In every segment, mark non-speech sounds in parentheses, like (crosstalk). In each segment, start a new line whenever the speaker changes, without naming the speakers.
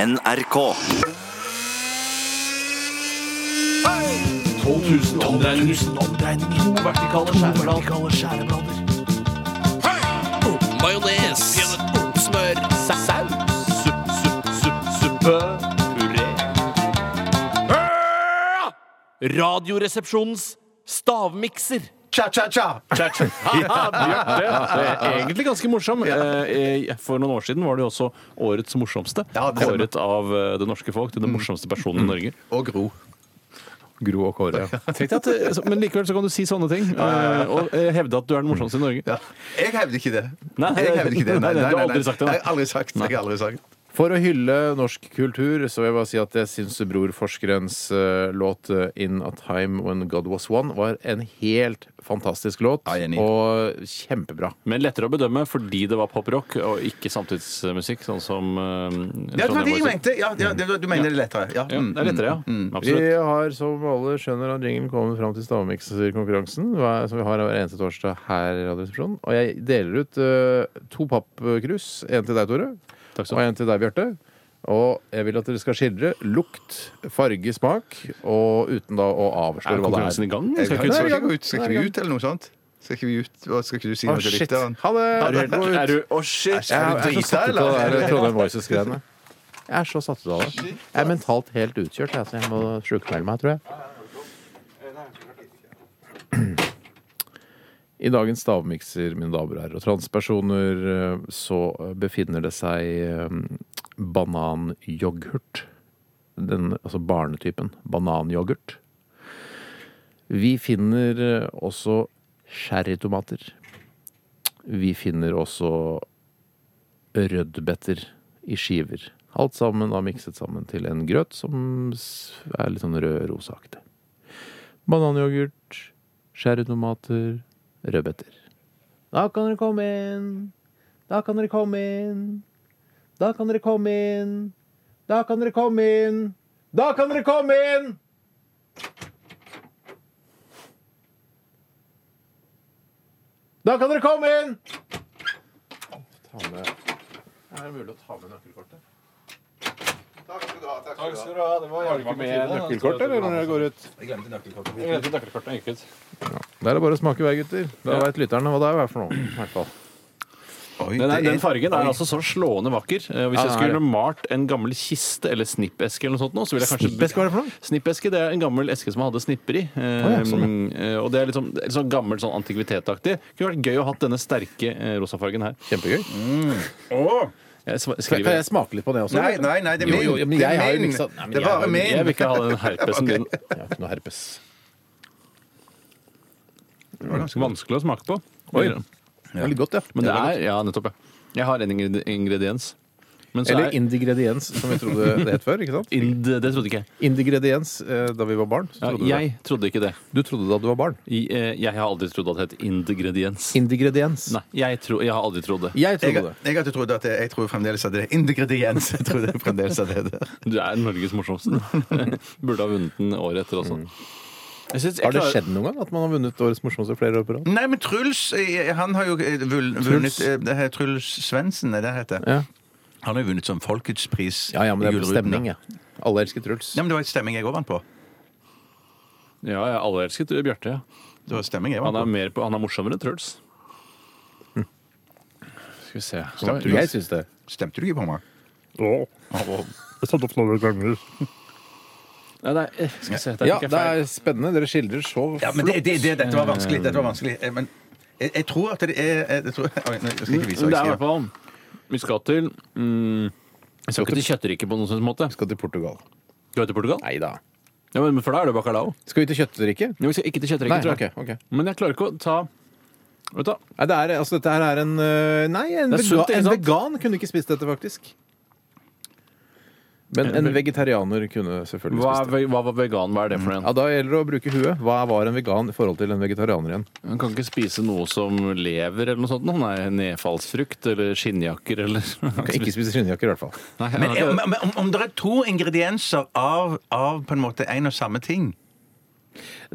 NRK.
12 000 omdreininger. To vertikale skjæreblader. Majones. Smør. Saus. Supp, supp, supp, suppe. Puré. Ah! Radioresepsjonens stavmikser.
Cha-cha-cha!
Egentlig ganske morsom. Eh, eh, For noen år siden var det jo også årets morsomste.
Ja, det stemmer.
Kåret av eh, det norske folk til den morsomste personen i Norge.
Og Gro.
Gro og (laughs) Kåre. Tenk deg at, eh, så- men likevel så kan du si sånne ting eh, og eh, hevde at du er den morsomste i Norge.
Ja. Jeg hevder ikke det.
Nei,
jeg hevder ikke det.
(laughs) nei, du har aldri sagt det, nei.
Nei, aldri sagt. Jeg har aldri sagt.
For å hylle norsk kultur så vil jeg bare si at jeg syns Brorforskerens eh, låt eh, 'In a Time When God Was One' var en helt fantastisk låt.
Ja, jeg er enig.
og kjempebra.
Men lettere å bedømme fordi det var poprock og ikke samtidsmusikk, sånn som eh,
Ja, det var det
Trondheim
jeg
Boys.
mente. Ja, ja, det, du mener det lettere. Ja. Mm.
Ja, det er lettere, Mm, ja.
Vi
Absolutt.
har, som alle skjønner av jinglen, kommet fram til stavmikserkonkurransen. hva- Som vi har hver eneste torsdag her i Radioresepsjonen. Og jeg deler ut eh, to pappkrus. En til deg, Tore.
Takk
Og
skal du ha.
en til deg, Bjarte. Og jeg vil at dere skal skildre lukt, farge, smak, og uten da å
Er
avsløre hva det er.
konkurransen i gang?
Jeg
Skal
kan
ikke
ikke
ut
vi gå ut. Skal ikke vi ut, eller noe sånt? Skal ikke vi ut? Hva- Skal ikke du si
Å,
noe til
shit.
lytteren?
Ha det!
Er du helt- er du-
Å, shit.
Jeg er,
Er du
så satt
drita,
ut av det
eller?
der Trondheim Voices-greiene. Jeg er så satt ut av det. Jeg er mentalt helt utkjørt, jeg, så jeg må sjukmelde meg, tror jeg. I dagens stavmikser, mine damer og herrer og transpersoner, eh, så befinner det seg eh, bananyoghurt. Den, altså barnetypen. Bananyoghurt. Vi finner eh, også sherrytomater. Vi finner også rødbeter i skiver. Alt sammen da mikset sammen til en grøt som s- er litt sånn rød-rosaaktig. Bananyoghurt, skjæretomater, rødbeter. Da kan dere komme inn. Da kan dere komme inn. Da kan dere komme inn. Da kan dere komme inn. Da kan dere komme inn! Da kan dere komme inn! Ta med er det mulig å ta med nøkkelkortet? Takk skal du ha. Det var ikke med nøkkelkort eller når dere går ut? Det er bare å smake i vei, gutter. Da vet lytterne hva det er for noe. i hvert fall.
Oi,
Den, er,
det er-
den fargen er altså så slående vakker. Eh, Hvis
Ja,
jeg
den er
skulle malt en gammel kiste eller snippeske eller noe sånt nå, så ville jeg kanskje
Snippeske, hva er det for noe?
Snippeske, det er en gammel eske som hadde snipper i. Eh,
ja, sånn,
eh, Og det er litt sånn, litt sånn gammel sånn antikvitetaktig. Kunne vært gøy å ha hatt denne sterke eh, rosafargen her.
Kjempegøy.
Jeg sm-
Mm. Kan
skriver
kan jeg smake litt på det også?
Nei, nei, nei, det er
Jo, jo,
min.
men
Det
jeg har
er
jo
min.
liksom- Nei, men
Det
jeg
er
har
bare
jo-
min.
Jeg vil ikke ha den
(laughs)
herpesen din.
Jeg har ikke noe herpes.
Vanskelig å smake på.
Oi. Det var litt godt, ja.
Men det er Ja, nettopp, ja. Jeg har en ingred- ingrediens. Men så
Eller
er
indigrediens, som vi trodde det het før.
(laughs)
ikke sant?
ind... Det trodde ikke jeg.
Indigrediens eh, da vi var barn. så
Ja,
trodde du
jeg trodde ikke det.
det. Du trodde da du var barn.
I, eh, Jeg har aldri trodd at det het ingrediens.
Indigrediens.
Nei, jeg, tro, jeg har aldri trodd det.
Jeg,
Jeg trodde det.
jeg hadde trodd at det, jeg tror fremdeles at det er ingrediens. Jeg tror det fremdeles at det er det.
Du er Norges
(laughs)
morsomste. (laughs) Burde ha vunnet den året etter også. Jeg synes, jeg
Mm. Har det
klarer-
skjedd noen gang at man har vunnet Årets morsomste flere år på rad?
Nei, men Truls eh, han har jo eh, vul- vunnet eh, det her Truls Svendsen, er det det heter?
Ja.
Han har jo vunnet som Folkets pris.
Ja, ja, men det er
i
på
Gullruten.
stemning, ja. Alle elsker Truls.
Ja, men det var et stemming jeg òg vant på.
Ja, jeg har alle elsket Bjarte. ja.
Det var et stemming jeg
Han
vant
er,
på.
mer på, han er morsommere enn Truls. Skal vi se
Stemte
Jeg syns det.
Stemte du ikke på meg?
Nei, det er- eh, skal vi se, det er
Ja,
ikke
det
feil.
er spennende. Dere skildrer så
Ja, men det, det, det, dette var vanskelig. Dette var vanskelig. Eh, Men jeg, jeg tror at det er eh, jeg, jeg tror, (laughs) Oi, nå skal jeg ikke vise
Men
hva
det er i
jeg
hvert
skriver.
fall Vi skal til mm, Vi skal ikke til kjøtteriket på noen slags måte.
Skal til Portugal.
Skal vi til Portugal?
Nei da.
Ja, men for da er det bacalao.
Skal vi til kjøttriket?
Ja, vi skal ikke til
Nei,
kjøtteriket, tror
ok.
jeg.
ok.
Men jeg klarer ikke å ta Vet du hva?
Nei, det er, altså, dette her er en øh, Nei, en,
Det er
vega,
sunt, ikke
en
sant?
vegan kunne ikke spist dette, faktisk. Men en vegetarianer kunne selvfølgelig
Hva, er
spist det.
ve- hva var vegan? Hva er det for noe?
Ja, Da gjelder det å bruke huet. Hva var en vegan i forhold til en vegetarianer igjen?
Man kan ikke spise noe som lever eller noe sånt. Noe. Nei, nedfallsfrukt eller skinnjakker (laughs) eller
Kan ikke spise skinnjakker, i hvert fall.
Nei, jeg
Men,
har
eh,
ikke det.
men om, om det er to ingredienser av, av på en måte en og samme ting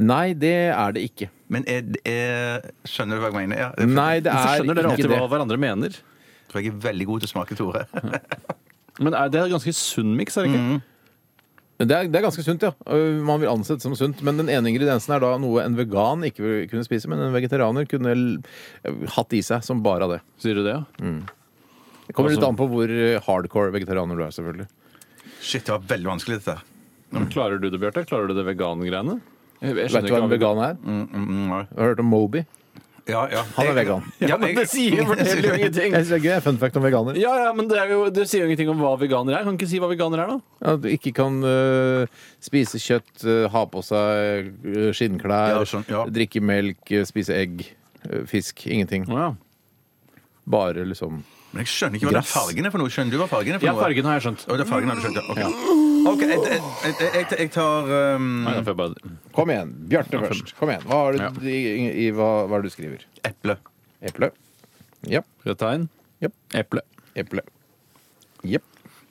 Nei, det er det ikke.
Men er, er, skjønner du hva jeg mener? Ja, det
Nei, det
Hvorfor
er
skjønner dere
ikke
alltid
det.
hva hverandre mener?
tror jeg er veldig god til å smake, Tore. (laughs)
Men er det en ganske sunn miks, er det ikke?
Det er, det er ganske sunt, ja. Øh, Man vil anse det som sunt. Men den ene ingrediensen er da noe en vegan ikke vil kunne spise, men en vegetarianer kunne l- hatt i seg som bare av det.
Sier du det, ja?
Det kommer litt
Altså-
an på hvor eh, hardcore vegetarianer du er, selvfølgelig.
Shit, det var veldig vanskelig, dette. her.
Men Klarer du det, Bjarte? Klarer du det vegangreiene? Jeg- jeg skjønner
Vet du hva
ikke
en vegan er?
Mm, mm, mm, nei.
Har du hørt om Moby?
ja, ja.
Han er vegan.
Ja, men
(laughs) Det sier forteller jo ingenting.
Jeg synes det er gøy. Fun fact om veganer.
Ja, ja, men det, er jo, det sier jo ingenting om hva veganer er. Kan ikke si hva veganer er, da.
At du ikke kan øh, spise kjøtt, øh, ha på seg øh, skinnklær,
Ja, sånn, ja.
drikke melk, øh, spise egg, øh, fisk. Ingenting.
Ja,
Bare liksom
Men jeg skjønner ikke hva den
Gress.
fargen er for noe. Skjønner du hva fargen er for noe?
fargen har jeg skjønt.
Å, det er fargen har du skjønt, ja. Ok, Ok, jeg, jeg, jeg, jeg, jeg tar um,
Nei, da får jeg bare...
Kom igjen, Bjarte først. Kom igjen. Hva har du,
Ja.
i, i, hva, hva er det du skriver?
eple.
Eple? Ja.
Rødt tegn.
Japp.
Eple.
Eple. Jepp.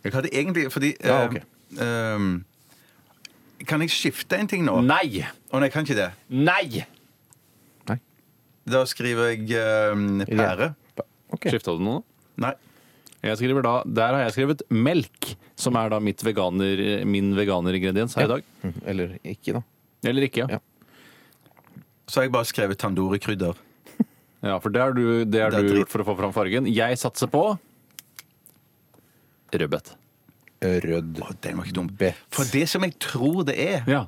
Jeg hadde egentlig fordi
Ja, ok.
um, um, Kan jeg skifte en ting nå?
Nei!
Å nei, jeg kan ikke det.
Nei!
Da skriver jeg um, pære.
Ok.
Skifta du noe?
Nei.
Jeg skriver da, Der har jeg skrevet melk, som er da mitt veganer, min veganeringrediens her i dag.
Mhm. Eller ikke, da.
Eller ikke.
Ja.
Ja,
Så har jeg bare skrevet tandori-krydder.
for det har du, det har
Det er
du
dritt.
gjort for å få fram fargen. Jeg satser på rødbet.
Rød.
Å, den var ikke dum.
Bet.
For det som jeg tror det er
Ja.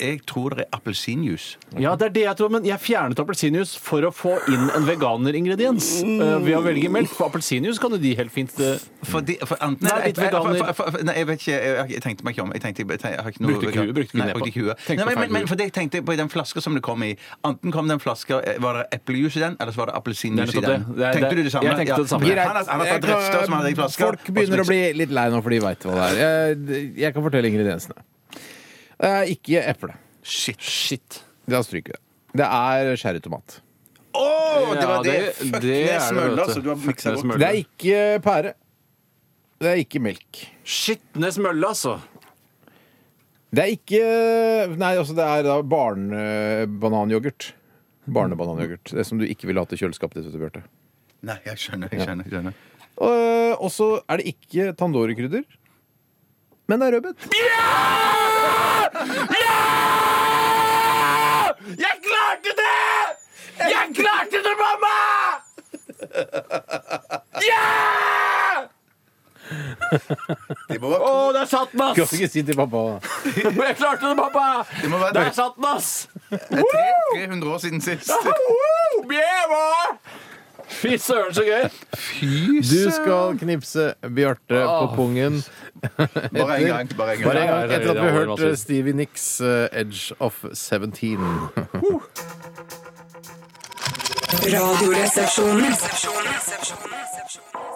Jeg tror det er appelsinjuice.
ja, det er det jeg tror, men jeg fjernet appelsinjuice for å få inn en veganeringrediens. eh, ved å velge melk. For appelsinjuice kan jo de helt fint eh,
Fordi, for enten,
Nei, litt
jeg- jeg-
veganer.
for- for- for- Nei, jeg vet ikke. Jeg, jeg tenkte meg ikke om. Jeg tenkte, jeg, jeg har ikke noe,
Brukte ikke huet, brukte ikke
Nei,
nepa.
brukte ikke huet.
Tenkte
Nei, men,
feil
men, men
hue.
for det jeg tenkte på i den flaska som det kom i Enten kom den flaska eh, Var det eplejus i den, eller så var det appelsinjuice i
Det er nettopp
den?
det. Det er-
tenkte
det-
du det samme?
jeg tenkte det samme.
Ja. Han har- han har tatt Refstad, som hadde i flaska.
Folk begynner å bli litt lei nå, for de veit hva det er. Jeg, jeg kan fortelle ingrediensene. Det er ikke eple.
Shit.
Shit.
Da stryker vi det. Det er sherrytomat.
Å, det var
Ja,
det!
det-
Fuck,
det
det
er
er
det,
smølle,
vet du.
altså. Du har
Fuck,
miksa
det er
godt.
smølle.
Det er ikke pære. Det er ikke melk.
Skitnes mølle, altså.
Det er ikke Nei, altså, det er da barnebananyoghurt. Barnebananyoghurt. Det som du ikke ville hatt i kjøleskapet ditt, vet du, Bjarte.
Nei, jeg skjønner. jeg skjønner, jeg skjønner.
Og og så er det ikke tandori-krydder. Men det er rødbet.
Jeg klarte det! Jeg klarte det, mamma! Ja!
Det må
Å,
være to-
der satt den,
Kan
ass!
(laughs)
ikke si til pappa
Jeg klarte det, pappa!
Det må være
Der satt den, ass!
tre- 300 år siden
(laughs)
sist.
Woo! Bjeva!
Fy søren, så gøy!
Du skal knipse Bjarte på pungen.
Bare en gang. Bare en gang.
Bare en gang
det er-
etter
det er
at vi har
over,
hørt
altså.
eh, Stevie Nicks eh, 'Edge of 17'. (laughs)
Radioresepsjonen.